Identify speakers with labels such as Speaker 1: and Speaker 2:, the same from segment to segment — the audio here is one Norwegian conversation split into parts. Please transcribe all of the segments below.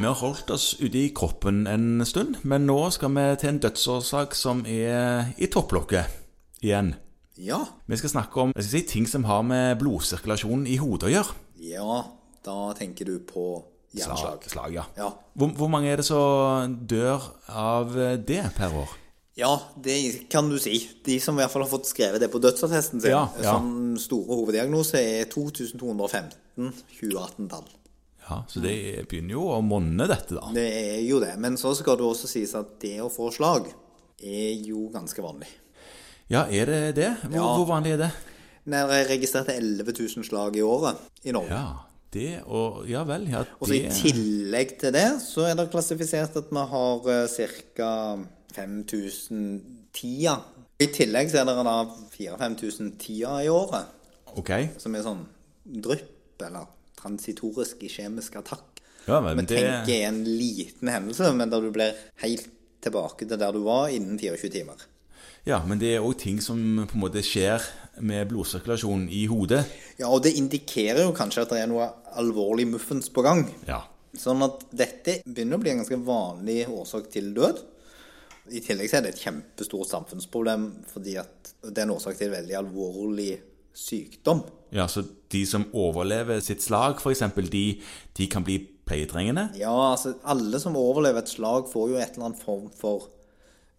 Speaker 1: Vi har holdt oss ute i kroppen en stund, men nå skal vi til en dødsårsak som er i topplokket igjen.
Speaker 2: Ja.
Speaker 1: Vi skal snakke om jeg skal si, ting som har med blodsirkulasjonen i hodet å gjøre.
Speaker 2: Ja, da tenker du på hjerneslag.
Speaker 1: Slag, ja.
Speaker 2: Ja.
Speaker 1: Hvor, hvor mange er det som dør av det per år?
Speaker 2: ja, det kan du si. De som i hvert fall har fått skrevet det på dødsattesten sin,
Speaker 1: Ja, ja.
Speaker 2: som store hoveddiagnose, er 2215 2018-tall.
Speaker 1: Ja, Så det begynner jo å monne, dette, da.
Speaker 2: Det er jo det. Men så skal det også sies at det å få slag er jo ganske vanlig.
Speaker 1: Ja, er det det? Hvor,
Speaker 2: Ja.
Speaker 1: hvor vanlig er det?
Speaker 2: Når jeg registrerte 11 000 slag i året i Norge.
Speaker 1: Ja, det og Ja vel, ja,
Speaker 2: Og så I
Speaker 1: det
Speaker 2: tillegg til det så er det klassifisert at vi har eh, ca. 5000 tia. I tillegg så er det da 4000-5000 tia i året,
Speaker 1: Ok.
Speaker 2: som er sånn drypp eller transitorisk iskjemisk attakk.
Speaker 1: Ja, men
Speaker 2: Vi
Speaker 1: det
Speaker 2: tenker er en liten hendelse, men der du blir helt tilbake til der du var innen 24 timer.
Speaker 1: Ja, men det er òg ting som på en måte skjer med blodsirkulasjonen i hodet.
Speaker 2: Ja, og det indikerer jo kanskje at det er noe alvorlig muffens på gang.
Speaker 1: Ja.
Speaker 2: Sånn at dette begynner å bli en ganske vanlig årsak til død. I tillegg så er det et kjempestort samfunnsproblem, fordi at det er en årsak til veldig alvorlig sykdom.
Speaker 1: ja, så de som overlever sitt slag, f.eks., de, de kan bli pleietrengende?
Speaker 2: Ja, altså, alle som overlever et slag, får jo et eller annet form for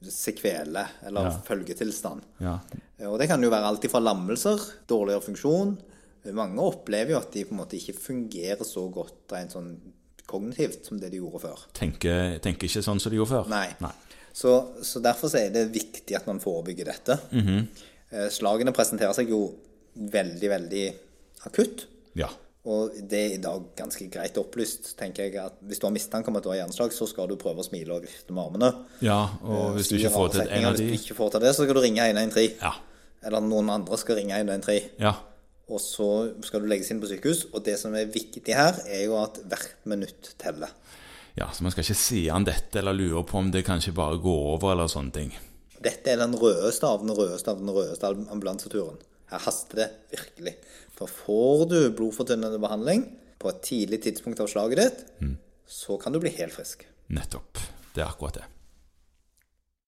Speaker 2: sekvele eller
Speaker 1: Ja.
Speaker 2: følgetilstand.
Speaker 1: Ja.
Speaker 2: Og det kan jo være alt fra lammelser, dårligere funksjon Mange opplever jo at de på en måte ikke fungerer så godt rent sånn kognitivt som det de gjorde før.
Speaker 1: Tenker, tenker ikke sånn som de gjorde før?
Speaker 2: Nei. Så, så derfor så er det viktig at man forebygger dette.
Speaker 1: Mhm.
Speaker 2: Eh, Slagene presenterer seg jo veldig, veldig akutt.
Speaker 1: Ja.
Speaker 2: Og det er i dag ganske greit opplyst, tenker jeg. at Hvis du har mistanke om at du har hjerneslag, så skal du prøve å smile og vifte med armene.
Speaker 1: ja, og hvis du ikke får til en av
Speaker 2: Hvis
Speaker 1: de
Speaker 2: du ikke får til det, så skal du ringe 113.
Speaker 1: Ja.
Speaker 2: Eller noen andre skal ringe 113.
Speaker 1: ja.
Speaker 2: Og så skal du legges inn på sykehus. Og det som er viktig her, er jo at hvert minutt teller.
Speaker 1: Ja, Så man skal ikke si an dette eller lure på om det kanskje bare går over eller sånne ting.
Speaker 2: Dette er den rødeste av den rødeste av den rødeste am- ambulanseturen. Her haster det virkelig. For får du blodfortynnende behandling på et tidlig tidspunkt av slaget ditt, så kan du bli helt frisk.
Speaker 1: Nettopp. Det er akkurat det.